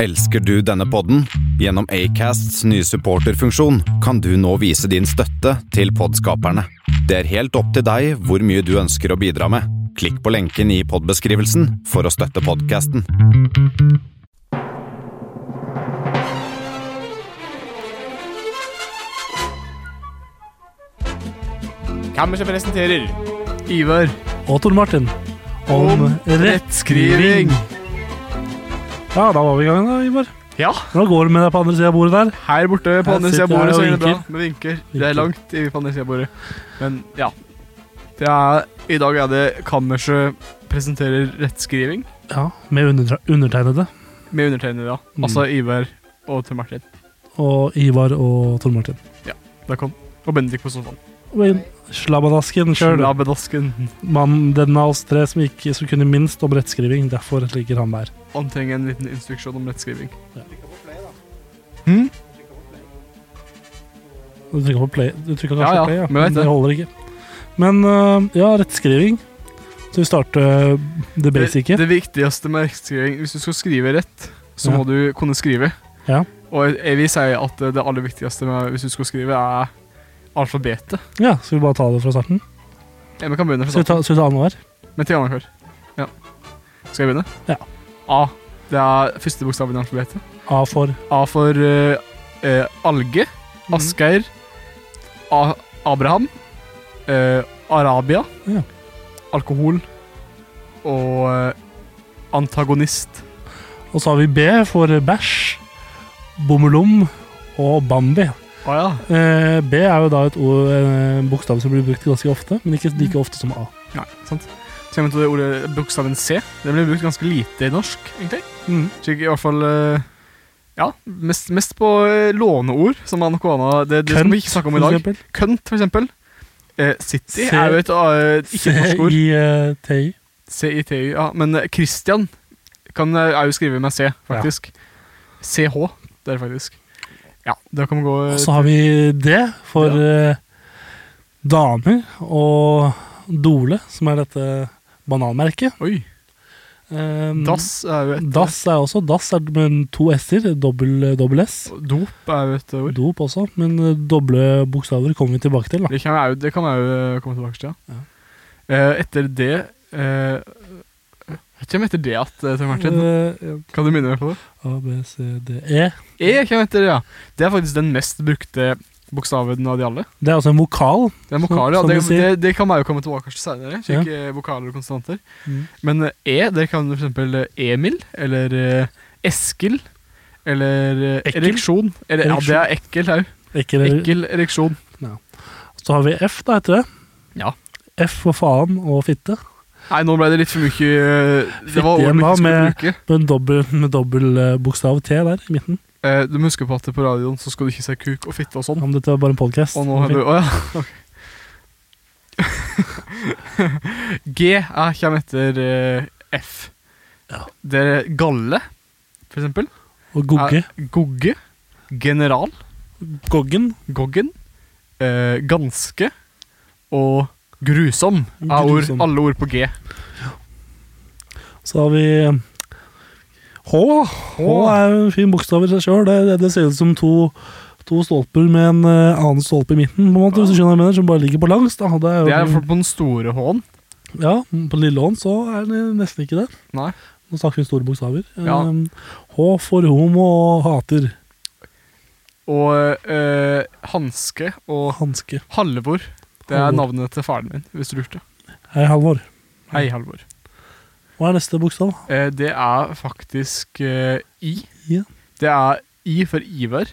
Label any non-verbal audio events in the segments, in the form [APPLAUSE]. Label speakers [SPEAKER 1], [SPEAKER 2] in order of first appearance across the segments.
[SPEAKER 1] Elsker du denne podden? Gjennom Acasts nye supporterfunksjon kan du nå vise din støtte til podskaperne. Det er helt opp til deg hvor mye du ønsker å bidra med. Klikk på lenken i podbeskrivelsen for å støtte podkasten.
[SPEAKER 2] Kammerset presenterer
[SPEAKER 3] Ivar
[SPEAKER 4] og Tor Martin om, rettskriving. Ja, da var vi i gang, da, Ivar.
[SPEAKER 3] Ja,
[SPEAKER 4] Hvordan går det med deg på andre siden av bordet der?
[SPEAKER 3] her borte på
[SPEAKER 4] Her
[SPEAKER 3] andre siden av
[SPEAKER 4] sitter
[SPEAKER 3] bordet
[SPEAKER 4] jeg
[SPEAKER 3] så
[SPEAKER 4] og
[SPEAKER 3] gjør det bra.
[SPEAKER 4] vinker.
[SPEAKER 3] Vi vinker. Det
[SPEAKER 4] Vinker.
[SPEAKER 3] er langt i- på andre siden av bordet. Men ja. Det er, I dag er det Kammerset presenterer rettskriving
[SPEAKER 4] Ja, Med undertre- undertegnede
[SPEAKER 3] med undertegnede. Ja.
[SPEAKER 4] Mm.
[SPEAKER 3] Altså Ivar og Tor Martin.
[SPEAKER 4] og Ivar og Tor Martin.
[SPEAKER 3] Velkommen. Og Bendik på sofaen.
[SPEAKER 4] Og inn- Slabbadasken sjøl.
[SPEAKER 3] Slabbedasken.
[SPEAKER 4] Mannen den av oss tre som, ikke, som kunne minst om rettskriving. Derfor ligger han der.
[SPEAKER 3] Han trenger en liten instruksjon om rettskriving.
[SPEAKER 4] Du trykka på play. Du trykket kanskje
[SPEAKER 3] Ja, ja,
[SPEAKER 4] play, ja.
[SPEAKER 3] men jeg vet det.
[SPEAKER 4] det holder ikke. Men øh, ja, rettskriving. Så vi starter det
[SPEAKER 3] Det,
[SPEAKER 4] basice.
[SPEAKER 3] det viktigste med rettskriving Hvis du skal skrive rett, så
[SPEAKER 4] Ja.
[SPEAKER 3] må du kunne skrive.
[SPEAKER 4] Ja.
[SPEAKER 3] Og jeg vil si at det aller viktigste med, hvis du skal skrive, er alfabetet.
[SPEAKER 4] Ja, Skal vi bare ta det fra starten?
[SPEAKER 3] Ja, Vi kan begynne fra
[SPEAKER 4] Skal vi ta, skal vi ta annenhver?
[SPEAKER 3] Men til annenhver. Ja. Skal jeg begynne?
[SPEAKER 4] Ja.
[SPEAKER 3] A. Det er første bokstaven i alfabetet.
[SPEAKER 4] A for
[SPEAKER 3] A for eh, eh, alge. Asgeir. A Abraham. eh, Arabia.
[SPEAKER 4] Ja.
[SPEAKER 3] Alkohol. Og eh, antagonist.
[SPEAKER 4] Og så har vi B for bæsj, bommelom og Bambi.
[SPEAKER 3] Å ja.
[SPEAKER 4] Eh, B er jo da et ord, en bokstav som blir brukt ganske ofte, men ikke like ofte som A.
[SPEAKER 3] Nei, sant. Så kommer vi til det ordet bokstaven C. Den blir brukt ganske lite i norsk, egentlig. Så ikke i hvert fall eh, Ja, mest, mest på eh, låneord, som er noe annet Det, det skal vi ikke snakke om i dag.
[SPEAKER 4] for eksempel.
[SPEAKER 3] Kønt, for eksempel. Eh, City
[SPEAKER 4] C-
[SPEAKER 3] er jo et eh, ikke-norsk ord.
[SPEAKER 4] C-I-T-I.
[SPEAKER 3] CITU, ja. Men eh, Christian kan eh, er jo skrive med C, faktisk. CH, det er det faktisk. Ja, det kan gå eh,
[SPEAKER 4] Og så har vi D for eh, damer og Dole, som er dette bananmerket.
[SPEAKER 3] Oi.
[SPEAKER 4] Eh,
[SPEAKER 3] Dass er jo et
[SPEAKER 4] Dass er også. Dass er med to s-er. Dobbel, eh, dobbel S.
[SPEAKER 3] Dop er jo et ord.
[SPEAKER 4] Dop også, men eh, doble bokstaver kommer vi tilbake til. da.
[SPEAKER 3] Det kan jeg jo, det kan jeg jo eh, komme tilbake til, ja. Eh, etter det eh, Vet ikke om etter det at eh, Tor Martin
[SPEAKER 4] Eh,
[SPEAKER 3] Kan du minne meg på det?
[SPEAKER 4] A, B, C, D, E.
[SPEAKER 3] E kommer etter det, ja. Det er faktisk den mest brukte bokstaven av de alle.
[SPEAKER 4] Det er altså en vokal.
[SPEAKER 3] Det er
[SPEAKER 4] Som-
[SPEAKER 3] vokaler, ja.
[SPEAKER 4] som
[SPEAKER 3] Det,
[SPEAKER 4] vi
[SPEAKER 3] det,
[SPEAKER 4] sier.
[SPEAKER 3] det kan man jo komme tilbake til senere. Slik eh, vokaler og konstanter.
[SPEAKER 4] Mm.
[SPEAKER 3] Men eh, E, der kan du for eksempel eh, Emil, eller eh, Eskil, eller eh,
[SPEAKER 4] Ekkel?
[SPEAKER 3] ereksjon. Eller, ja, det er ekkel òg.
[SPEAKER 4] Ikke det.
[SPEAKER 3] Ekkel ereksjon.
[SPEAKER 4] Så har vi F, da, heter det.
[SPEAKER 3] Ja.
[SPEAKER 4] F for faen og fitte.
[SPEAKER 3] Nei, nå ble det litt for mye eh, Det var
[SPEAKER 4] Fitte
[SPEAKER 3] ord
[SPEAKER 4] igjen
[SPEAKER 3] vi
[SPEAKER 4] da,
[SPEAKER 3] ikke skulle
[SPEAKER 4] med-
[SPEAKER 3] bruke.
[SPEAKER 4] Med dobbel, med dobbel eh, bokstav T der i midten.
[SPEAKER 3] Eh, du må huske på at på radioen så skal du ikke si kuk og fitte og sånn.
[SPEAKER 4] Ja, men dette var bare en podkast.
[SPEAKER 3] Og nå har du Å ja. [LAUGHS] ok. G er, kommer etter eh, F.
[SPEAKER 4] Ja.
[SPEAKER 3] Det er galle, for eksempel.
[SPEAKER 4] Og gogge.
[SPEAKER 3] Er Gogge. General.
[SPEAKER 4] Goggen.
[SPEAKER 3] Goggen. eh, ganske. Og grusom er ord,
[SPEAKER 4] Grusom.
[SPEAKER 3] alle ord på G.
[SPEAKER 4] Så har vi eh, H. H er jo en fin bokstav i seg sjøl. Det, det, det ser ut som to, to stolper med en eh, annen stolpe i midten, på en måte, hvis du skjønner hva jeg mener, som bare ligger på langs. Da. Det er jo,
[SPEAKER 3] Det er for på den store H-en.
[SPEAKER 4] ja, på lille hånd så er det nesten ikke det.
[SPEAKER 3] Nei.
[SPEAKER 4] Nå snakker vi store bokstaver.
[SPEAKER 3] Ja.
[SPEAKER 4] Eh, H for homo og hater.
[SPEAKER 3] Og eh, hanske og
[SPEAKER 4] Hanske.
[SPEAKER 3] Halvor. Det er
[SPEAKER 4] Halvor.
[SPEAKER 3] navnet til faren min, hvis du lurte.
[SPEAKER 4] Hei, Halvor.
[SPEAKER 3] Hei, Halvor.
[SPEAKER 4] Hva er neste bokstav?
[SPEAKER 3] Eh, det er faktisk eh, I.
[SPEAKER 4] Ja.
[SPEAKER 3] Det er I for Ivar,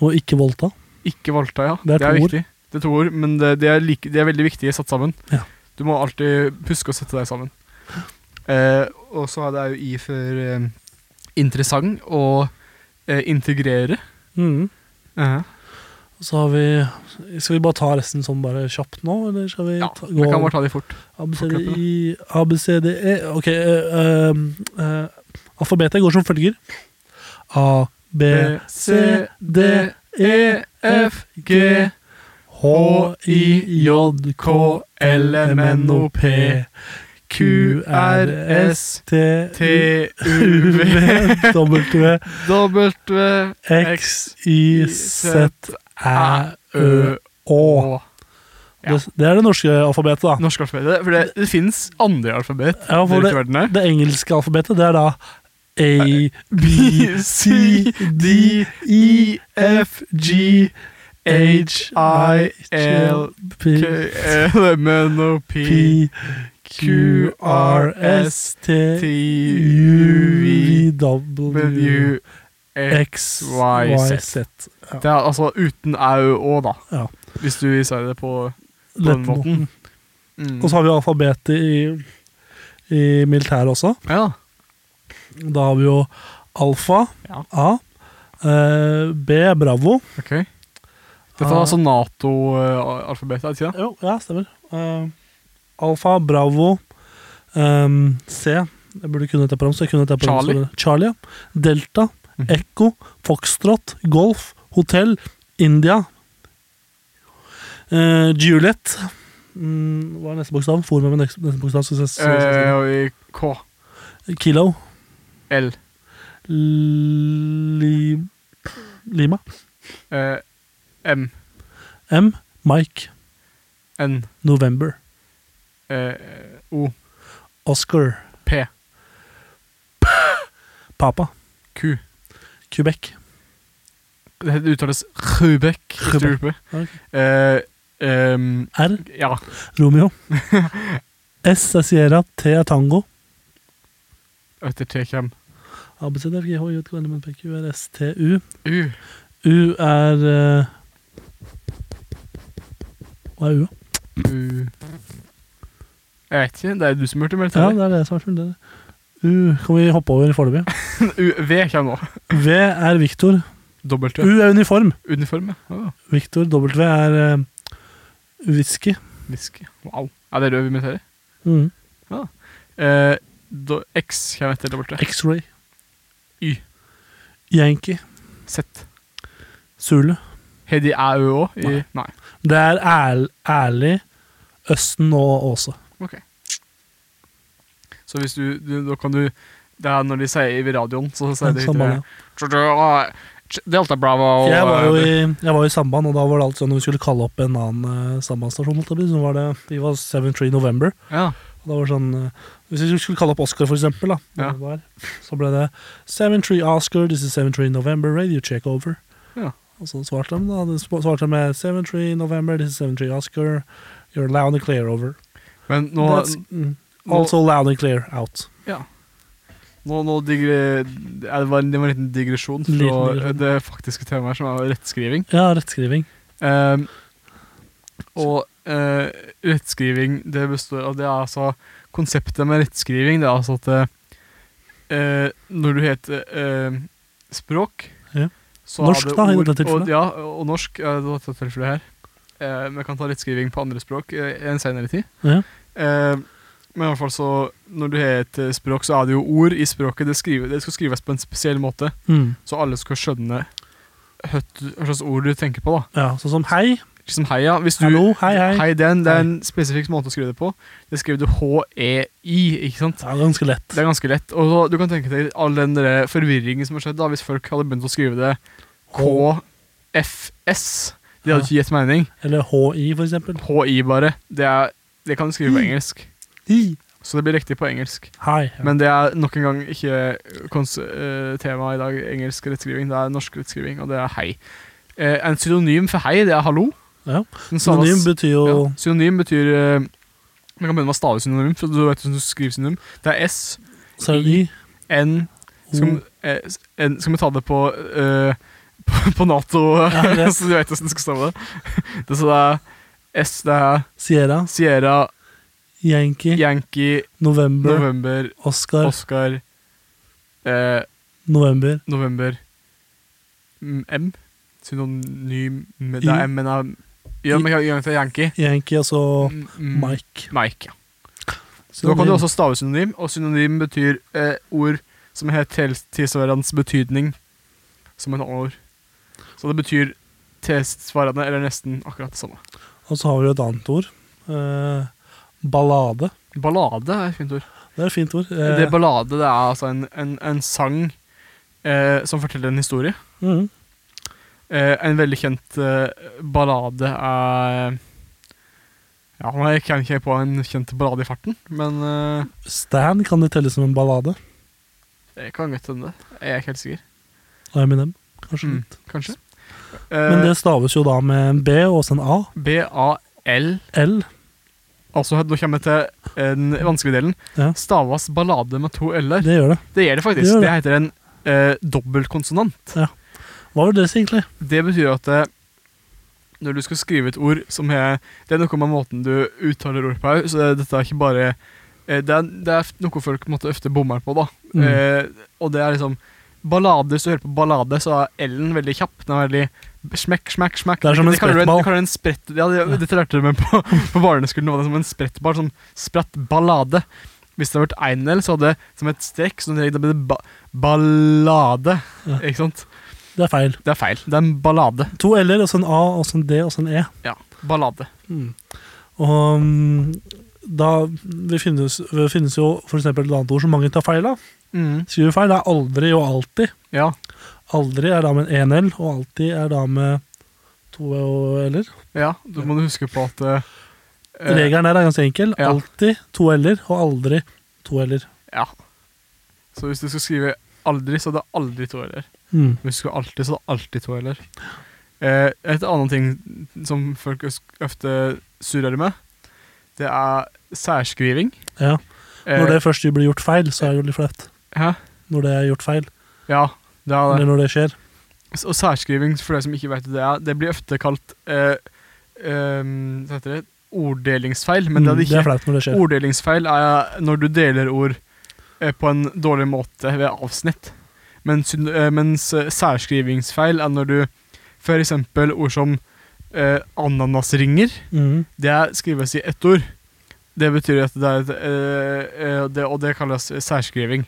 [SPEAKER 4] Og ikke voldta.
[SPEAKER 3] ikke Valta, ja.
[SPEAKER 4] Det er to ord.
[SPEAKER 3] viktig. Det er to ord, men det, det, er, like, det er veldig viktig satt sammen.
[SPEAKER 4] Ja.
[SPEAKER 3] Du må alltid huske å sette deg sammen. Eh, og så er det jo I for eh, interessant og eh, integrere. Mm.
[SPEAKER 4] Så har vi Skal vi bare ta resten sånn bare kjapt nå, eller skal vi
[SPEAKER 3] Ja,
[SPEAKER 4] ta,
[SPEAKER 3] jeg kan bare ta de fort.
[SPEAKER 4] ABCDI ABCDE E, OK. eh, eh, eh, alfabetet går som følger. A, B,
[SPEAKER 3] Eh,
[SPEAKER 4] C, D, E, F, G, H, I, J, K, L, M, N, O, P, [LAUGHS]
[SPEAKER 3] [LAUGHS]
[SPEAKER 4] T-U-V-W-X-Y-Z-Æ-Ø
[SPEAKER 3] X-Y-Z-Æ-Ø-Å. Ja.
[SPEAKER 4] E Det det er det norske alfabetet, da.
[SPEAKER 3] [LAUGHS] Norsk alfabet. Det- For det, det fins andre alfabet.
[SPEAKER 4] Ja,
[SPEAKER 3] i
[SPEAKER 4] for det,
[SPEAKER 3] verden her.
[SPEAKER 4] det engelske alfabetet, det er da A,
[SPEAKER 3] [LAUGHS]
[SPEAKER 4] B, C, D, E,
[SPEAKER 3] E, F, G, H, I, L,
[SPEAKER 4] P,
[SPEAKER 3] K, L, M, N, O, P,
[SPEAKER 4] P, Q, R, S,
[SPEAKER 3] T,
[SPEAKER 4] T, U, V,
[SPEAKER 3] U, V,
[SPEAKER 4] W,
[SPEAKER 3] W, E. X.
[SPEAKER 4] X,
[SPEAKER 3] Y,
[SPEAKER 4] Y,
[SPEAKER 3] Z.
[SPEAKER 4] Z. Ja.
[SPEAKER 3] Det er altså uten au og, da.
[SPEAKER 4] Ja.
[SPEAKER 3] Hvis du sier det på, på den
[SPEAKER 4] Lettmoten.
[SPEAKER 3] måten. Mm.
[SPEAKER 4] Og så har vi alfabetet i, i militæret også.
[SPEAKER 3] ja.
[SPEAKER 4] Da har vi jo alfa,
[SPEAKER 3] Ja.
[SPEAKER 4] A, eh, B, bravo.
[SPEAKER 3] Ok. Dette er
[SPEAKER 4] Ah.
[SPEAKER 3] altså Nato-alfabetet, er det ikke det?
[SPEAKER 4] Jo, ja, stemmer. Eh, alfa, Bravo, ehm, C Jeg burde kunne dette på ramse. jeg kunne dette på ramse.
[SPEAKER 3] Charlie.
[SPEAKER 4] Charlie. Delta,
[SPEAKER 3] Mhm.
[SPEAKER 4] Ekko, Foxtrot, Golf, Hotell, India. Uh, Juliet mm, Hva er neste bokstav? Forum med neste, neste bokstav. Så, så, så, så,
[SPEAKER 3] Eh, K.
[SPEAKER 4] så. Kilo.
[SPEAKER 3] L.
[SPEAKER 4] Li, Lima.
[SPEAKER 3] eh, M.
[SPEAKER 4] M. Mike.
[SPEAKER 3] N.
[SPEAKER 4] November.
[SPEAKER 3] eh, O.
[SPEAKER 4] Oscar.
[SPEAKER 3] P.
[SPEAKER 4] Papa.
[SPEAKER 3] Q.
[SPEAKER 4] Quebec.
[SPEAKER 3] Det uttales Rubek.
[SPEAKER 4] Rubek.
[SPEAKER 3] Rubek.
[SPEAKER 4] Ok.
[SPEAKER 3] Eh, ehm,
[SPEAKER 4] R.
[SPEAKER 3] ja.
[SPEAKER 4] [LAUGHS] Romeo. S er Sierra, T er Tango.
[SPEAKER 3] Etter TKM.
[SPEAKER 4] A, B, C, D, F, G, H, I, J, K, L, M, N, P, Q, R, S, T, U.
[SPEAKER 3] U.
[SPEAKER 4] U er eh, Hva er U? da?
[SPEAKER 3] U. Jeg vet ikke. Det er du som hørte mer
[SPEAKER 4] Ja,
[SPEAKER 3] til.
[SPEAKER 4] det er det som er fullt. det er det. U kan vi hoppe over foreløpig.
[SPEAKER 3] U. V kommer nå.
[SPEAKER 4] V er [LAUGHS] Victor.
[SPEAKER 3] Dobbelt
[SPEAKER 4] U
[SPEAKER 3] U.
[SPEAKER 4] er uniform.
[SPEAKER 3] Uniform, ja. ja.
[SPEAKER 4] Victor W er eh, whisky.
[SPEAKER 3] Whisky. Wow. Ja, det er rød vi imiterer.
[SPEAKER 4] Mm.
[SPEAKER 3] Eh, do, X kommer etter dobbelt V.
[SPEAKER 4] X-ray.
[SPEAKER 3] Y.
[SPEAKER 4] Yankee.
[SPEAKER 3] Z.
[SPEAKER 4] Zulu.
[SPEAKER 3] Har de æ ø òg? i- Nei.
[SPEAKER 4] Det er ærl, ærlig, Østen og Åse.
[SPEAKER 3] Ok. Så hvis du, du Da kan du Det er når de sier i radioen, så sier de
[SPEAKER 4] Samband, ja.
[SPEAKER 3] ah, ikke Delta Bravo
[SPEAKER 4] Jeg var, jo
[SPEAKER 3] eh,
[SPEAKER 4] i, jeg var i samband, og da var det alt sånn når vi skulle kalle opp en annen eh, sambandsstasjon. holdt jeg på å si, Så var det, vi var 73 November.
[SPEAKER 3] Ja.
[SPEAKER 4] Og da var det sånn, eh, hvis vi skulle kalle opp Oscar, for eksempel, da,
[SPEAKER 3] Ja.
[SPEAKER 4] det var, så ble det 73 Oscar, this is 73 November, radio check over.
[SPEAKER 3] Ja.
[SPEAKER 4] Og så svarte de, da, de sp- svarte de med 73 November, this is 73 Oscar, you're loud and clear over.
[SPEAKER 3] Men nå,
[SPEAKER 4] That's- mm, also loud and clear out.
[SPEAKER 3] nå, nå digre, ja, det, var, en- det var en liten digresjon fra
[SPEAKER 4] Liten digresjon.
[SPEAKER 3] det faktiske temaet, som er rettskriving.
[SPEAKER 4] Ja, rettskriving.
[SPEAKER 3] Ehm, og eh, rettskriving, det består av det er altså Konseptet med rettskriving det er altså at eh, når du heter eh, språk
[SPEAKER 4] Ja.
[SPEAKER 3] så
[SPEAKER 4] Norsk, da, i dette tilfellet.
[SPEAKER 3] Og, ja, og norsk er det dette tilfellet her. Eh, men jeg kan ta rettskriving på andre språk eh, i en senere tid.
[SPEAKER 4] Ja.
[SPEAKER 3] Eh, men i hvert fall så, når du har et eh, språk, så er det jo ord i språket. Det, skrive, det skal skrives på en spesiell måte,
[SPEAKER 4] Mm.
[SPEAKER 3] så alle skal skjønne hva hva slags ord du tenker på. da.
[SPEAKER 4] Ja, sånn som hei,
[SPEAKER 3] Liksom heia. Hvis du,
[SPEAKER 4] hallo, hei, hei.
[SPEAKER 3] Hei, den, det er en spesifikk måte å skrive det på. Det skriver du H-E-I, ikke sant?
[SPEAKER 4] Ja, ganske lett.
[SPEAKER 3] Det er ganske lett. Og så, du kan tenke deg all den der forvirringen som har skjedd da, hvis folk hadde begynt å skrive det K-F-S. Det hadde ikke gitt mening.
[SPEAKER 4] Eller HI, for eksempel.
[SPEAKER 3] H-I bare. Det, er, det kan du skrive på engelsk.
[SPEAKER 4] Hi.
[SPEAKER 3] Så det blir riktig på engelsk.
[SPEAKER 4] Hei. Ja.
[SPEAKER 3] Men det er nok en gang ikke kons eh, tema i dag, engelsk rettskriving. Det er norsk rettskriving, og det er hei. Eh, en synonym for hei, det er hallo.
[SPEAKER 4] Ja.
[SPEAKER 3] Den samme-
[SPEAKER 4] Synonym betyr jo
[SPEAKER 3] Ja. Synonym betyr eh, Man kan begynne med å stave synonym, for du vet hvordan du skriver synonym. Det er S,
[SPEAKER 4] Så er det i,
[SPEAKER 3] N Skal, eh, s- N, skal vi ta det på eh, [LAUGHS] på, på Nato,
[SPEAKER 4] Ja,
[SPEAKER 3] [LAUGHS]
[SPEAKER 4] det-
[SPEAKER 3] så du vet hvordan du skal stave det? [LAUGHS] det så det er S, det er
[SPEAKER 4] Sierra,
[SPEAKER 3] Sierra,
[SPEAKER 4] Yankee,
[SPEAKER 3] Yankee,
[SPEAKER 4] November,
[SPEAKER 3] November,
[SPEAKER 4] Oscar,
[SPEAKER 3] Oscar eh,
[SPEAKER 4] November,
[SPEAKER 3] November M- M? Synonym med- Det er
[SPEAKER 4] I-
[SPEAKER 3] M, men det er Ja, men jeg gang til Yankee.
[SPEAKER 4] Yankee, og så
[SPEAKER 3] M- M-
[SPEAKER 4] Mike.
[SPEAKER 3] Mike, ja. Så Da kan du også stave synonym, og synonym betyr eh, ord som har tel- tilsvarende betydning som en annen ord. Så det betyr tilsvarende eller nesten akkurat det samme.
[SPEAKER 4] Og så har vi jo et annet ord. eh, Ballade.
[SPEAKER 3] Ballade er et fint ord.
[SPEAKER 4] Det er et fint ord. Eh,
[SPEAKER 3] Det ballade det er altså en, en, en sang eh, som forteller en historie.
[SPEAKER 4] mm.
[SPEAKER 3] Eh, en veldig kjent eh, ballade er Ja, nå er jeg kan ikke på en kjent ballade i farten, men eh,
[SPEAKER 4] Stan kan det telles som en ballade.
[SPEAKER 3] det kan godt hende. Jeg er ikke helt sikker.
[SPEAKER 4] Og Eminem, kanskje.
[SPEAKER 3] Mm,
[SPEAKER 4] litt.
[SPEAKER 3] kanskje.
[SPEAKER 4] Men
[SPEAKER 3] Eh,
[SPEAKER 4] det staves jo da med en B og så en A.
[SPEAKER 3] BAL
[SPEAKER 4] L.
[SPEAKER 3] Altså, nå kommer jeg til eh, den vanskelige delen.
[SPEAKER 4] Ja.
[SPEAKER 3] Stavas ballade med to l-er.
[SPEAKER 4] Det gjør det.
[SPEAKER 3] Det gjør det faktisk.
[SPEAKER 4] Det gjør
[SPEAKER 3] Det,
[SPEAKER 4] det.
[SPEAKER 3] heter en eh, dobbeltkonsonant.
[SPEAKER 4] Hva var det egentlig?
[SPEAKER 3] Det betyr at eh, når du skal skrive et ord som er Det er noe med måten du uttaler ord på òg, så det, dette er ikke bare eh, det, er, det er noe folk på en måte ofte bommer på, da.
[SPEAKER 4] Mm.
[SPEAKER 3] Eh, og det er liksom Ballade, Hvis du hører på ballade, så er l-en veldig kjapp. Den er veldig smekk, smekk, smekk.
[SPEAKER 4] Det er som en
[SPEAKER 3] Det kaller du
[SPEAKER 4] sprettball.
[SPEAKER 3] Det kaller du en sprett, ja, det, dette lærte du meg på, [LAUGHS] på barneskolen. Var det som en sprettball, som spratt ballade. Hvis det hadde vært en l, så hadde det som et strekk. Så det ble det ba ballade.
[SPEAKER 4] Ja.
[SPEAKER 3] Ikke sant?
[SPEAKER 4] Det er feil.
[SPEAKER 3] Det er feil. Det er en ballade.
[SPEAKER 4] To L-er, og så en A, og så en D, og så en E.
[SPEAKER 3] Ja, ballade.
[SPEAKER 4] Og mm, da det finnes, det finnes jo for eksempel et annet ord som mange tar feil av. Skriver feil det er aldri og alltid.
[SPEAKER 3] Ja.
[SPEAKER 4] Aldri er da med en 1L, og alltid er da med to L-er.
[SPEAKER 3] ja, da må du huske på at eh, eh,
[SPEAKER 4] Regelen der er ganske enkel.
[SPEAKER 3] ja.
[SPEAKER 4] Alltid to L-er, og aldri to L-er.
[SPEAKER 3] Ja. Så hvis du skal skrive aldri, så er det aldri to l-er.
[SPEAKER 4] Mm.
[SPEAKER 3] Hvis du skal alltid, så er det alltid to l-er. Eh, et annet ting som folk øs- ofte surrer med, det er særskriving.
[SPEAKER 4] Ja.
[SPEAKER 3] Eh,
[SPEAKER 4] Når det først blir gjort feil, så er det jo litt flaut.
[SPEAKER 3] Hæ?
[SPEAKER 4] Når det er gjort feil,
[SPEAKER 3] Ja, det er det.
[SPEAKER 4] eller når det skjer.
[SPEAKER 3] S- Og særskriving, for dere som ikke vet hva det er, det blir ofte kalt eh, ehm, hva heter det? orddelingsfeil. Men det er
[SPEAKER 4] Mm,
[SPEAKER 3] det ikke.
[SPEAKER 4] flaut når det skjer.
[SPEAKER 3] Orddelingsfeil er når du deler ord eh, på en dårlig måte ved avsnitt. Mens, syn- eh, mens eh, særskrivingsfeil er når du f.eks. ord som eh, ananasringer,
[SPEAKER 4] Mm.
[SPEAKER 3] det er- skrives i ett ord. Det betyr at det er et, eh, eh, det, Og det kalles særskriving.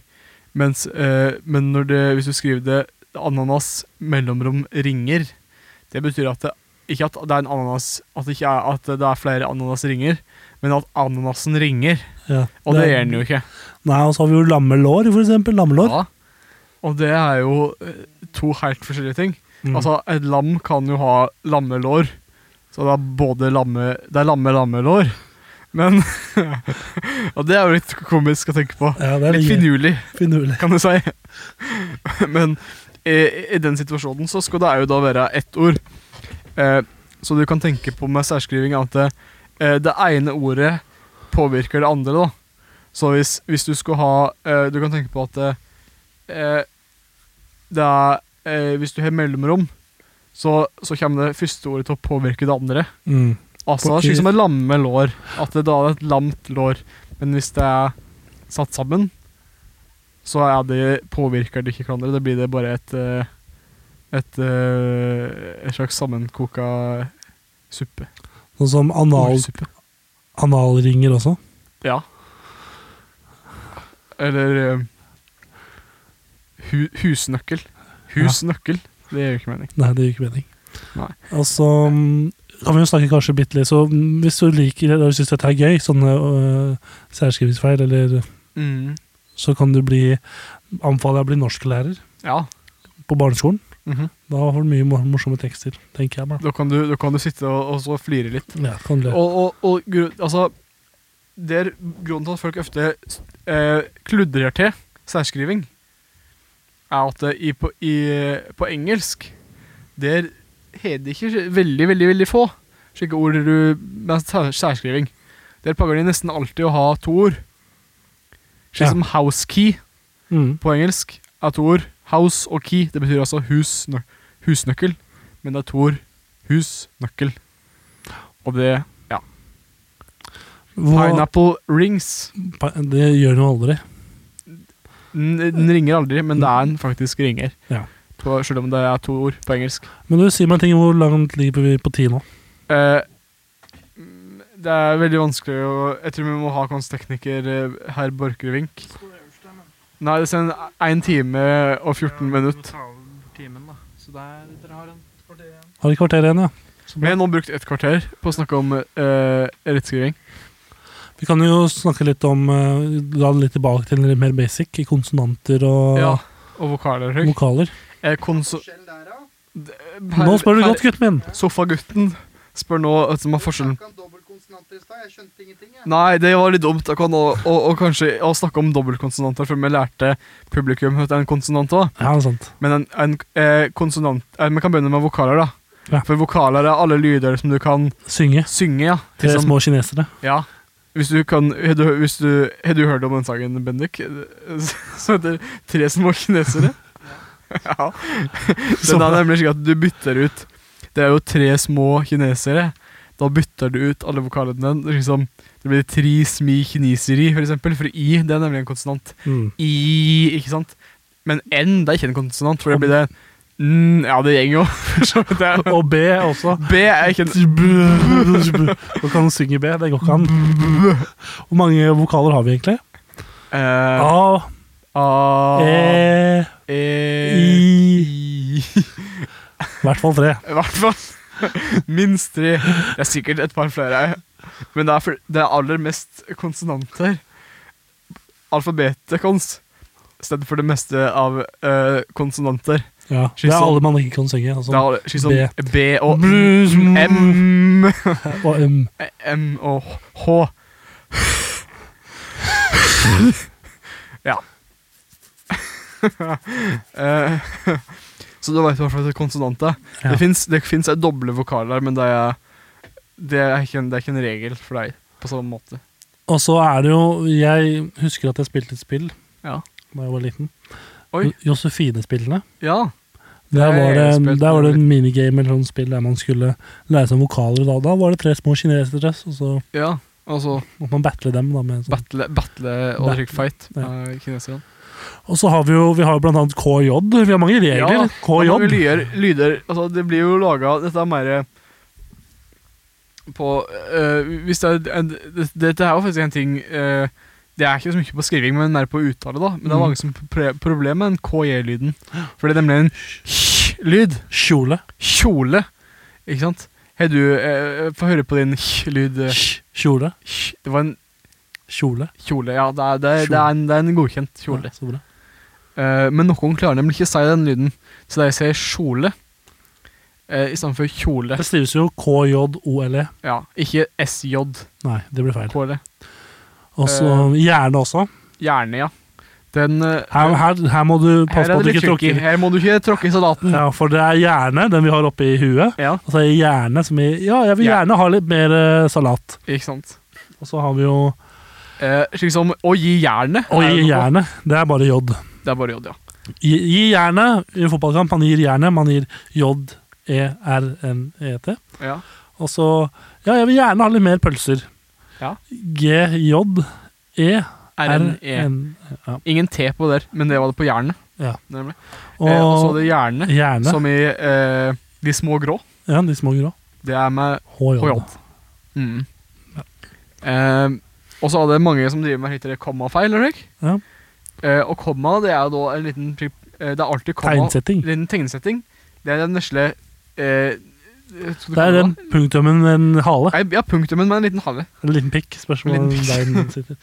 [SPEAKER 3] Mens, eh, men når det, hvis du skriver det ananas mellomrom ringer, det betyr at det ikke at det er en ananas At det ikke er, at det er flere ananasringer, men at ananasen ringer.
[SPEAKER 4] Ja.
[SPEAKER 3] Og det gjør den jo ikke.
[SPEAKER 4] Nei, og så har vi jo lammelår, for eksempel. Lammelår.
[SPEAKER 3] Ja. Og det er jo eh, to helt forskjellige ting.
[SPEAKER 4] Mm.
[SPEAKER 3] Altså, et lam kan jo ha lammelår, så det er både lamme Det er lamme-lammelår. Men [LAUGHS] Og det er jo litt komisk å tenke på.
[SPEAKER 4] ja, det er
[SPEAKER 3] Litt
[SPEAKER 4] litt
[SPEAKER 3] finurlig,
[SPEAKER 4] finurlig.
[SPEAKER 3] [LAUGHS] kan du si. Men i, i den situasjonen så skal det jo da være ett ord. Eh, så du kan tenke på med særskriving at det, eh, det ene ordet påvirker det andre. da. Så hvis, hvis du skulle ha eh, Du kan tenke på at eh, det er eh, Hvis du har mellomrom, så, så kommer det første ordet til å påvirke det andre.
[SPEAKER 4] Mm.
[SPEAKER 3] Altså
[SPEAKER 4] På-
[SPEAKER 3] det er slik som et lamme lår. At det da er et lamt lår. Men hvis det er satt sammen, så er det, påvirker det ikke hverandre. Da blir det bare et eh, et, eh, et slags sammenkoka suppe.
[SPEAKER 4] Sånn som anal,
[SPEAKER 3] Ordsuppe.
[SPEAKER 4] analringer også.
[SPEAKER 3] Ja. Eller eh, hu, husnøkkel. Husnøkkel. Det gir jo ikke mening.
[SPEAKER 4] Nei, det gir ikke mening.
[SPEAKER 3] Nei.
[SPEAKER 4] Og så mm, kan vi jo snakke kanskje bitte litt, så mm, hvis du liker eller syns dette er gøy, sånne øh, særskrivingsfeil, eller så kan du bli Anbefaler jeg å bli norsklærer
[SPEAKER 3] Ja.
[SPEAKER 4] på barneskolen.
[SPEAKER 3] mhm.
[SPEAKER 4] Da har du mye mor- morsomme tekster, tenker jeg. Da.
[SPEAKER 3] da, kan du, da kan du sitte og, og så flire litt.
[SPEAKER 4] Ja, kan du le.
[SPEAKER 3] Og, og, og gru- altså, det er grunnen til at folk ofte eh, kludrer til særskriving, er at det i, på, i, på engelsk der har de ikke veldig, veldig, veldig få slike ord du, med sær- særskriving. Der pleier de nesten alltid å ha to ord. Slik
[SPEAKER 4] Ja.
[SPEAKER 3] som house key
[SPEAKER 4] Mm.
[SPEAKER 3] på engelsk er to ord. House og key, det betyr altså hus, nø- husnøkkel. Men det er to ord. Husnøkkel. Og det
[SPEAKER 4] Hva,
[SPEAKER 3] Pineapple rings.
[SPEAKER 4] pi- det gjør du jo aldri.
[SPEAKER 3] Den, den ringer aldri, men det er en faktisk ringer.
[SPEAKER 4] Ja.
[SPEAKER 3] På, selv om det er to ord på engelsk.
[SPEAKER 4] Men du, si meg en ting. Hvor langt ligger vi på ti nå?
[SPEAKER 3] Eh, det er veldig vanskelig å Jeg tror vi må ha konsttekniker eh, herr Borchgrevink. Nei, det er 1 time og 14
[SPEAKER 5] Eh,
[SPEAKER 3] minutter.
[SPEAKER 5] Så der dere har en kvarter igjen.
[SPEAKER 4] Har vi kvarter igjen, ja?
[SPEAKER 3] Vi har nå brukt et kvarter på å snakke om eh, rettskriving.
[SPEAKER 4] Vi kan jo snakke litt om eh, Dra det litt tilbake til litt mer basic, i konsonanter og
[SPEAKER 3] Ja, og vokaler høy.
[SPEAKER 4] vokaler.
[SPEAKER 3] Eh, konso...
[SPEAKER 4] Nå spør du godt, gutten min!
[SPEAKER 3] Sofagutten spør nå vet du, hva er forskjellen
[SPEAKER 6] Snakka om dobbeltkonsonanter i stad. Jeg skjønte ingenting, jeg.
[SPEAKER 3] Nei, det var litt dumt. Jeg kan å, å, å, kanskje, å snakke om dobbeltkonsonanter før vi lærte publikum at det er en konsonant òg.
[SPEAKER 4] Ja, det er sant.
[SPEAKER 3] Men en, en eh, konsonant eh, Vi kan begynne med vokaler, da.
[SPEAKER 4] Ja.
[SPEAKER 3] For vokaler er alle lyder som du kan
[SPEAKER 4] Synge
[SPEAKER 3] synge, ja.
[SPEAKER 4] til
[SPEAKER 3] Liksom,
[SPEAKER 4] små kinesere.
[SPEAKER 3] ja. Hvis du kan Har du, hvis du, har du hørt om den sangen, Bendik? [LAUGHS] Som heter 'Tre små kinesere'? [LAUGHS] ja. Den er nemlig slik at du bytter ut Det er jo tre små kinesere. Da bytter du ut alle vokalene. Det er Liksom, det blir tri smi kineseri, for eksempel. For i, det er nemlig en konsonant. [LAUGHS]
[SPEAKER 4] Mm.
[SPEAKER 3] I, ikke sant? Men n, det er ikke en konsonant, for det blir det n, Ja, det gjenger jo, [LAUGHS] for så vidt. det er-
[SPEAKER 4] Og B også.
[SPEAKER 3] B er ikke en
[SPEAKER 4] Du kan synge B, det går ikke an. Hvor mange vokaler har vi egentlig?
[SPEAKER 3] eh,
[SPEAKER 4] A,
[SPEAKER 3] A,
[SPEAKER 4] E,
[SPEAKER 3] E, I
[SPEAKER 4] I I hvert fall tre.
[SPEAKER 3] I hvert fall. [LAUGHS] Minst tre. Det er sikkert et par flere. Men det er, fl- det er aller mest konsonanter. Alfabetet kons. I stedet for det meste av eh, konsonanter.
[SPEAKER 4] Ja, det er alle man ikke kan synge.
[SPEAKER 3] Det er
[SPEAKER 4] Altså.
[SPEAKER 3] alle- slik som B og M,
[SPEAKER 4] Og M.
[SPEAKER 3] M og H. ja. Eh, Så du veit i hvert fall at det er konsonanter.
[SPEAKER 4] Ja.
[SPEAKER 3] Det fins det finnes en doble vokaler, men det er, det, er ikke en, det er ikke en regel for deg på samme måte.
[SPEAKER 4] Og så er det jo Jeg husker at jeg spilte et spill
[SPEAKER 3] Ja.
[SPEAKER 4] da jeg var liten.
[SPEAKER 3] Oi.
[SPEAKER 4] Josefine-spillene.
[SPEAKER 3] Ja.
[SPEAKER 4] Der
[SPEAKER 3] har
[SPEAKER 4] var,
[SPEAKER 3] jeg
[SPEAKER 4] det,
[SPEAKER 3] spilt
[SPEAKER 4] der var det
[SPEAKER 3] noe
[SPEAKER 4] en minigame eller sånn spill der man skulle lære seg vokaler. Da, da var det tre små kinesere, og så
[SPEAKER 3] ja. Altså
[SPEAKER 4] måtte man battle dem. Da, med en sånn.
[SPEAKER 3] battle, battle og
[SPEAKER 4] Battle,
[SPEAKER 3] trick fight Eh,
[SPEAKER 4] ja.
[SPEAKER 3] med kineserne.
[SPEAKER 4] Og så har vi jo vi har jo blant annet KJ. Vi har mange regler.
[SPEAKER 3] Ja,
[SPEAKER 4] KJ.
[SPEAKER 3] Og mange lyder, lyder altså, Det blir jo laga Dette er mer eh, på eh, Hvis det er en, det, Dette er jo faktisk en ting eh, Det er ikke så mye på skriving, men mer på uttale. da Men det er
[SPEAKER 4] Mm.
[SPEAKER 3] mange som har problemer med den KJ-lyden. For det er nemlig en lyd.
[SPEAKER 4] Kjole.
[SPEAKER 3] Kjole. Ikke sant? Hei, du, eh, få høre på din lyd. eh,
[SPEAKER 4] Kj- Kjole.
[SPEAKER 3] Det var en
[SPEAKER 4] Kjole.
[SPEAKER 3] kjole. Ja, det er, det er, det er, en, det er en godkjent kjole.
[SPEAKER 4] Ja, så bra.
[SPEAKER 3] Eh, men noen klarer nemlig ikke å si den lyden, så de sier kjole uh, istedenfor kjole.
[SPEAKER 4] Det skrives jo KJOLE.
[SPEAKER 3] Ja, ikke SJ,
[SPEAKER 4] E. Nei, det blir feil.
[SPEAKER 3] kjole.
[SPEAKER 4] Og så
[SPEAKER 3] Eh.
[SPEAKER 4] hjerne også.
[SPEAKER 3] Gjerne, ja. Den eh,
[SPEAKER 4] Her, her, her må du
[SPEAKER 3] her
[SPEAKER 4] passe
[SPEAKER 3] er
[SPEAKER 4] på at du
[SPEAKER 3] det litt
[SPEAKER 4] ikke
[SPEAKER 3] tricky.
[SPEAKER 4] tråkker.
[SPEAKER 3] Her må du ikke tråkke i salaten.
[SPEAKER 4] Ja, for det er hjerne, den vi har oppe i huet.
[SPEAKER 3] Ja,
[SPEAKER 4] Og så er hjerne som i Ja, jeg vil
[SPEAKER 3] Ja.
[SPEAKER 4] gjerne ha litt mer eh, salat.
[SPEAKER 3] ikke sant.
[SPEAKER 4] Og så har vi jo
[SPEAKER 3] Eh, slik som å gi jernet.
[SPEAKER 4] Og
[SPEAKER 3] er
[SPEAKER 4] gi
[SPEAKER 3] jo noe.
[SPEAKER 4] jernet. Det er bare J.
[SPEAKER 3] Det er bare J, ja.
[SPEAKER 4] Gi, gi jernet i en fotballkamp. Man gir jernet. Man gir E J-E-R-N-E-T.
[SPEAKER 3] ja.
[SPEAKER 4] E Og så Ja, jeg vil gjerne ha litt mer pølser. E,
[SPEAKER 3] Ja.
[SPEAKER 4] G-J-E-R-N.
[SPEAKER 3] RNE. Ingen T på der, men det var det på jernet.
[SPEAKER 4] Ja.
[SPEAKER 3] Nemlig. Eh, Og så
[SPEAKER 4] Og
[SPEAKER 3] det hjerne,
[SPEAKER 4] hjerne.
[SPEAKER 3] som i eh, De små grå.
[SPEAKER 4] Ja, de små grå.
[SPEAKER 3] Det er med På
[SPEAKER 4] HJ.
[SPEAKER 3] jobb. Mm. Eh, og så er det mange som driver med hittere kommafeil, eller ikke?
[SPEAKER 4] Ja.
[SPEAKER 3] Eh, og komma, det er da en liten pri- eh, Det er alltid komma.
[SPEAKER 4] Tegnsetting.
[SPEAKER 3] En liten tegnesetting. Det er den vesle eh, skal du
[SPEAKER 4] Det er
[SPEAKER 3] kalle
[SPEAKER 4] den punktummen med en hale.
[SPEAKER 3] Nei, Ja, punktumen med en liten hale.
[SPEAKER 4] En liten pikk. Spørsmål
[SPEAKER 3] En
[SPEAKER 4] om
[SPEAKER 3] liten pikk.
[SPEAKER 4] der den sitter.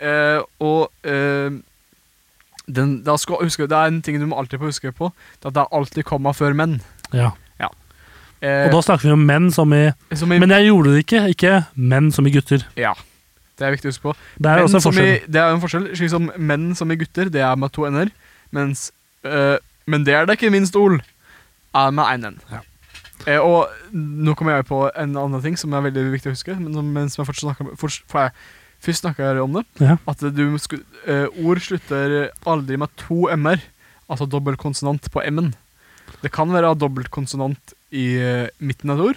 [SPEAKER 3] Eh, og eh, den, da skal, huske, det er en ting du må alltid få huske på. Det er at det er alltid komma før menn.
[SPEAKER 4] Ja.
[SPEAKER 3] Eh,
[SPEAKER 4] Og da snakker vi om menn som i
[SPEAKER 3] som i,
[SPEAKER 4] Men jeg gjorde det ikke. Ikke menn som i gutter.
[SPEAKER 3] ja, det er viktig å huske på.
[SPEAKER 4] Det er
[SPEAKER 3] Menn
[SPEAKER 4] også en
[SPEAKER 3] som i,
[SPEAKER 4] forskjell.
[SPEAKER 3] det er jo en forskjell. Slik som menn som i gutter, det er med to n-er. Mens øh, Men det er det ikke i min stol. Er med én n.
[SPEAKER 4] Ja.
[SPEAKER 3] Eh, og nå kommer jeg på en annen ting som er veldig viktig å huske. Men som, men som jeg fortsatt snakker, om- forts- for jeg, først snakka jeg om det.
[SPEAKER 4] Ja.
[SPEAKER 3] At du sku, eh, ord slutter aldri med to m-er. Altså dobbeltkonsonant på m-en. Det kan være dobbeltkonsonant i eh, midten av et ord,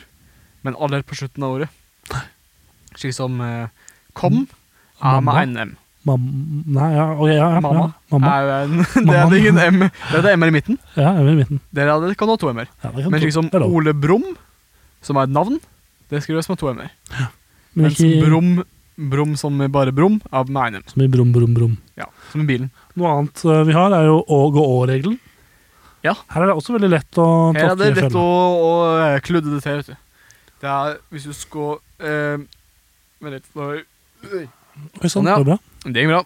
[SPEAKER 3] men aldri på slutten av ordet. Slik som eh, kom er
[SPEAKER 4] Mamma.
[SPEAKER 3] med én m.
[SPEAKER 4] Mam... Nei, ja, ok, ja, ja,
[SPEAKER 3] Mamma. Eh.
[SPEAKER 4] Ja, mamma.
[SPEAKER 3] Er jo en, [LAUGHS] det er det ingen M. Det er det M-er i midten.
[SPEAKER 4] Ja, jeg er i midten.
[SPEAKER 3] Der er det kan du ha to M-er.
[SPEAKER 4] Ja, det kan
[SPEAKER 3] Men
[SPEAKER 4] tro-
[SPEAKER 3] slik som
[SPEAKER 4] det er lov.
[SPEAKER 3] Ole Brumm, som er et navn, det skrives med to M-er.
[SPEAKER 4] Men
[SPEAKER 3] Mens
[SPEAKER 4] ikke
[SPEAKER 3] Brum, Brum som i bare Brum, er med én M.
[SPEAKER 4] som i brum, brum, brum.
[SPEAKER 3] Ja, som i bilen.
[SPEAKER 4] Noe annet eh, vi har, er jo å gå å-regelen.
[SPEAKER 3] Ja.
[SPEAKER 4] Her er det også veldig lett å
[SPEAKER 3] Her er det
[SPEAKER 4] tråkke i
[SPEAKER 3] lett å,
[SPEAKER 4] fella.
[SPEAKER 3] å eh, kludde det til, vet du. Det er hvis du skal eh, Vent litt. nå- Oi.
[SPEAKER 4] Oi
[SPEAKER 3] Sånn,
[SPEAKER 4] sann,
[SPEAKER 3] ja.
[SPEAKER 4] det var bra.
[SPEAKER 3] Det gikk bra.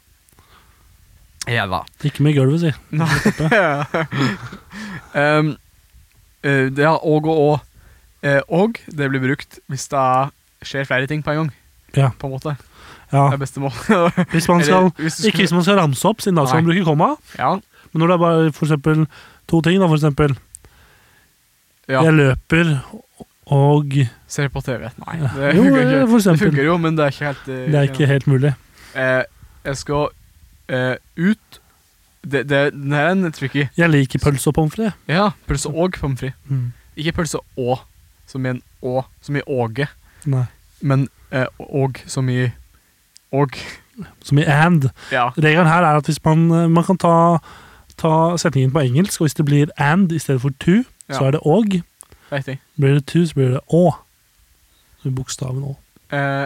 [SPEAKER 3] Ja [LAUGHS] da.
[SPEAKER 4] Ikke med i gulvet, si.
[SPEAKER 3] um, eh, det er og og og. Eh, og det blir brukt hvis det er, skjer flere ting på en gang.
[SPEAKER 4] Ja.
[SPEAKER 3] På en måte. Det
[SPEAKER 4] Ja.
[SPEAKER 3] er beste mål.
[SPEAKER 4] [LAUGHS] Hvis man skal,
[SPEAKER 3] Eller hvis du
[SPEAKER 4] ikke hvis man skal ramse opp, siden da
[SPEAKER 3] Nei.
[SPEAKER 4] skal man bruke komma.
[SPEAKER 3] Ja,
[SPEAKER 4] Men når det er bare for eksempel to ting, da, for eksempel
[SPEAKER 3] Ja.
[SPEAKER 4] Jeg løper og
[SPEAKER 3] ser på TV. Nei, det
[SPEAKER 4] Jo,
[SPEAKER 3] funker ikke.
[SPEAKER 4] eh, for
[SPEAKER 3] Det
[SPEAKER 4] eksempel.
[SPEAKER 3] funker jo, men det er ikke helt eh,
[SPEAKER 4] Det er ikke helt mulig.
[SPEAKER 3] eh, Jeg skal eh, ut det, det, Den her er en tricky.
[SPEAKER 4] Jeg liker pølse og pommes frites.
[SPEAKER 3] Ja, pølse og pommes frites.
[SPEAKER 4] Mm.
[SPEAKER 3] Ikke pølse og, som i en å, som i åge,
[SPEAKER 4] Nei.
[SPEAKER 3] men eh, og, som i og. [LAUGHS]
[SPEAKER 4] Som i and.
[SPEAKER 3] Ja.
[SPEAKER 4] Regelen her er at hvis man, eh, man kan ta, ta setningen på engelsk, og hvis det blir and i stedet for to, så
[SPEAKER 3] Ja.
[SPEAKER 4] er det og.
[SPEAKER 3] Riktig.
[SPEAKER 4] Blir det to, så blir det å. Så Bokstaven å.
[SPEAKER 3] Eh,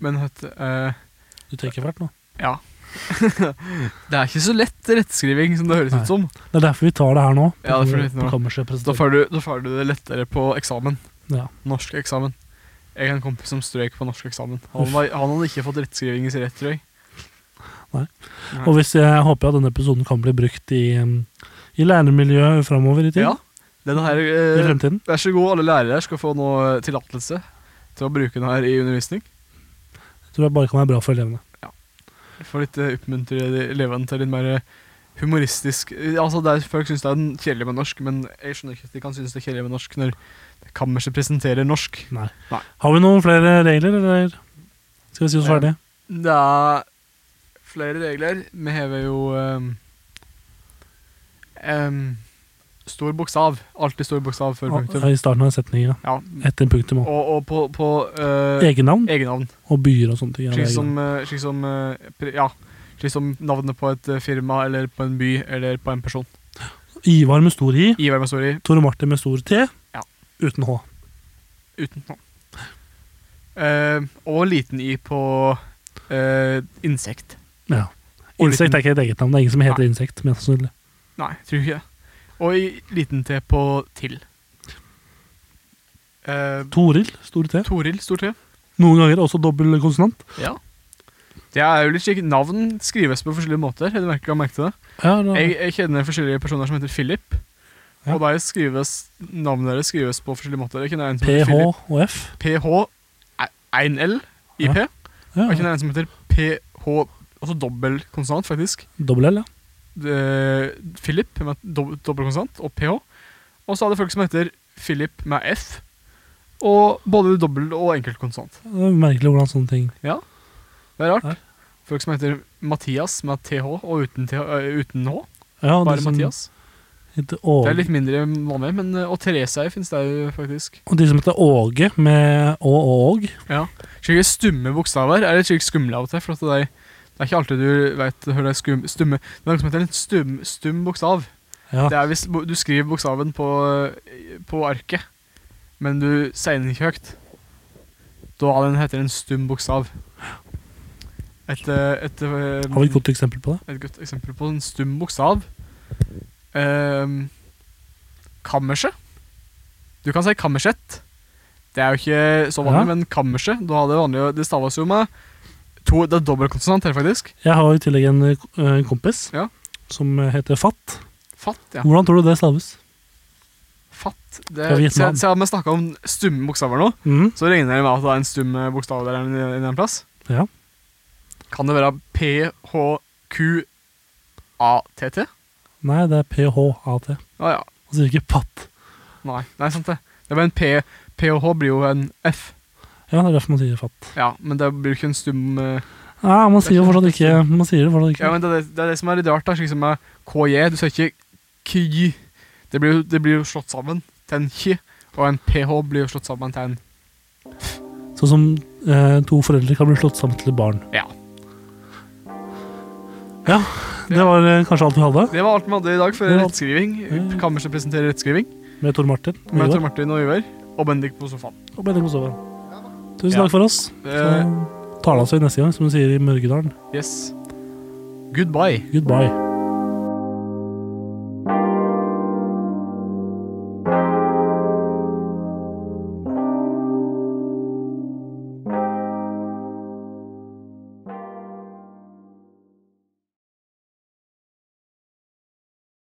[SPEAKER 3] men vet du, eh,
[SPEAKER 4] Du tenker fælt nå.
[SPEAKER 3] ja. [LAUGHS] det er ikke så lett rettskriving som det høres
[SPEAKER 4] Nei.
[SPEAKER 3] ut som.
[SPEAKER 4] Det er derfor vi tar det her nå.
[SPEAKER 3] Ja, det er for litt nå.
[SPEAKER 4] på kammerset
[SPEAKER 3] Da
[SPEAKER 4] presenterer.
[SPEAKER 3] får, du, da får du det lettere på eksamen.
[SPEAKER 4] Ja.
[SPEAKER 3] Norsk eksamen. Jeg har en kompis som strøk på norsk eksamen. Han, var, han hadde ikke fått rettskriving i sin rett, tror jeg.
[SPEAKER 4] Og hvis jeg håper at denne episoden kan bli brukt i, um, i læremiljøet framover i tid.
[SPEAKER 3] Ja. Den her,
[SPEAKER 4] I
[SPEAKER 3] eh,
[SPEAKER 4] fremtiden.
[SPEAKER 3] vær så god, alle lærere skal få nå eh, tillatelse til å bruke den her i undervisning.
[SPEAKER 4] Jeg tror det bare kan være bra for elevene.
[SPEAKER 3] Få litt eh, oppmuntre de- elevene til litt mer eh, humoristisk eh, Altså, det er, Folk syns det er den kjedelig med norsk, men jeg skjønner ikke at de kan synes det er kjedelig med norsk når kammerset presenterer norsk.
[SPEAKER 4] Har vi noen flere regler, eller skal vi si oss
[SPEAKER 3] Ja.
[SPEAKER 4] ferdige?
[SPEAKER 3] Det er flere regler. Vi hever jo ehm, ehm, Stor bokstav. Alltid stor bokstav før punktum.
[SPEAKER 4] I starten av setninga.
[SPEAKER 3] Ja.
[SPEAKER 4] Etter punktum òg.
[SPEAKER 3] Og, og på, på eh,
[SPEAKER 4] Egennavn
[SPEAKER 3] egennavn.
[SPEAKER 4] og byer og sånne ting. er
[SPEAKER 3] Slik
[SPEAKER 4] det
[SPEAKER 3] som, eh, slik som eh, pri- Ja. Slik som navnet på et eh, firma eller på en by eller på en person.
[SPEAKER 4] egennavn. Ivar med stor I.
[SPEAKER 3] Ivar Masori
[SPEAKER 4] Tore Martin med stor T.
[SPEAKER 3] Ja.
[SPEAKER 4] Uten H.
[SPEAKER 3] Uten hånd. Eh, og liten i på eh, insekt.
[SPEAKER 4] Ja.
[SPEAKER 3] Og
[SPEAKER 4] Insekt
[SPEAKER 3] liten-
[SPEAKER 4] er ikke et eget navn. Det er ingen som heter insekt. Men altså, sannsynlig.
[SPEAKER 3] Nei, tror ikke det. Og i liten t på til. Eh,
[SPEAKER 4] Toril, stor T.
[SPEAKER 3] Toril, stor T.
[SPEAKER 4] Noen ganger også dobbel konsonant.
[SPEAKER 3] Ja. Det er jo litt slik Navn skrives på forskjellige måter. Jeg merker, jeg merket det.
[SPEAKER 4] Ja, da-
[SPEAKER 3] Jeg, jeg kjenner forskjellige personer som heter Philip.
[SPEAKER 4] Mm. Ja.
[SPEAKER 3] Og der skrives, navnet deres skrives på forskjellige måter. Jeg kjenner en som heter
[SPEAKER 4] PH
[SPEAKER 3] Philip.
[SPEAKER 4] og F.
[SPEAKER 3] PH1L i P. Og jeg
[SPEAKER 4] Ja,
[SPEAKER 3] kjenner en som heter PH Altså dobbel konsonant, faktisk.
[SPEAKER 4] Dobbel L, ja.
[SPEAKER 3] eh, Philip med dob dobbeltkonsonant og PH. Og så er det folk som heter Philip med F. Og både dobbel- og enkeltkonsonant.
[SPEAKER 4] Det er merkelig hvordan sånne ting
[SPEAKER 3] Det er
[SPEAKER 4] Her.
[SPEAKER 3] rart. Folk som heter Mathias med TH og uten, TH, øh, uten H.
[SPEAKER 4] ja,
[SPEAKER 3] Bare
[SPEAKER 4] det som
[SPEAKER 3] Mathias.
[SPEAKER 4] Heter Åge.
[SPEAKER 3] Det er litt mindre vanlig, men øh, Og Therese fins det jo faktisk.
[SPEAKER 4] Og de som heter Åge, med Å og Åg.
[SPEAKER 3] Skikkelig stumme bokstaver er litt skikkelig skumle av og til. For at det, er, det er ikke alltid du vet hører det skum, stumme Det er noe som heter en stum, stum bokstav.
[SPEAKER 4] Ja.
[SPEAKER 3] Det er hvis bo- du skriver bokstaven på, på arket, men du sier den ikke høyt. Da er den heter en stum bokstav. Et, eh, et, eh,
[SPEAKER 4] Har vi et godt eksempel på det?
[SPEAKER 3] et godt eksempel på en stum bokstav Ehm, Kammerset. Du kan si kammersett. Det er jo ikke så vanlig,
[SPEAKER 4] Ja.
[SPEAKER 3] men kammerset da er det, vanlig, å- det staves jo med to, Det er dobbeltkonsonant her, faktisk.
[SPEAKER 4] Jeg har i tillegg en eh, ko- eh, kompis
[SPEAKER 3] Ja.
[SPEAKER 4] som heter Fatt.
[SPEAKER 3] Fatt, ja.
[SPEAKER 4] Hvordan tror du det staves?
[SPEAKER 3] Fatt.
[SPEAKER 4] Fra
[SPEAKER 3] Det,
[SPEAKER 4] Vietnam.
[SPEAKER 3] siden siden vi snakka om stumme bokstaver nå,
[SPEAKER 4] Mm.
[SPEAKER 3] Så regner jeg med at det er en stum eh, bokstav der en, en en plass.
[SPEAKER 4] Ja.
[SPEAKER 3] Kan det være PHQATT?
[SPEAKER 4] Nei, det er PHAT.
[SPEAKER 3] Å ja.
[SPEAKER 4] Han sier ikke patt.
[SPEAKER 3] Nei, nei, sant det. Det var en P. PH blir jo en F.
[SPEAKER 4] Ja, det er derfor man sier fatt.
[SPEAKER 3] Ja, men det blir jo ikke en stum eh,
[SPEAKER 4] Nei, man sier jo fortsatt ikke Man sier det fortsatt
[SPEAKER 3] Ja,
[SPEAKER 4] ikke.
[SPEAKER 3] men det, er det- det er det som er litt rart, da. Slik som med KJ. Du sier ikke KJ. Det blir, jo- det blir jo slått sammen til en J, og en PH blir jo slått sammen til en
[SPEAKER 4] Sånn som eh, to foreldre kan bli slått sammen til et barn.
[SPEAKER 3] Ja.
[SPEAKER 4] Ja, det var eh, kanskje alt vi hadde
[SPEAKER 3] Det var alt vi hadde i dag for
[SPEAKER 4] Det var-
[SPEAKER 3] rettskriving. Kammerset presenterer rettskriving
[SPEAKER 4] med Tor Martin. og
[SPEAKER 3] med
[SPEAKER 4] Ivar,
[SPEAKER 3] Tor Martin og Iver. Og Bendik på sofaen.
[SPEAKER 4] Og Bendik Mosoven. Tusen
[SPEAKER 3] Ja.
[SPEAKER 4] takk for oss. Så
[SPEAKER 3] Eh,
[SPEAKER 4] tales vi neste gang, som de sier i Mørgedalen.
[SPEAKER 3] Yes. Goodbye.
[SPEAKER 4] Goodbye.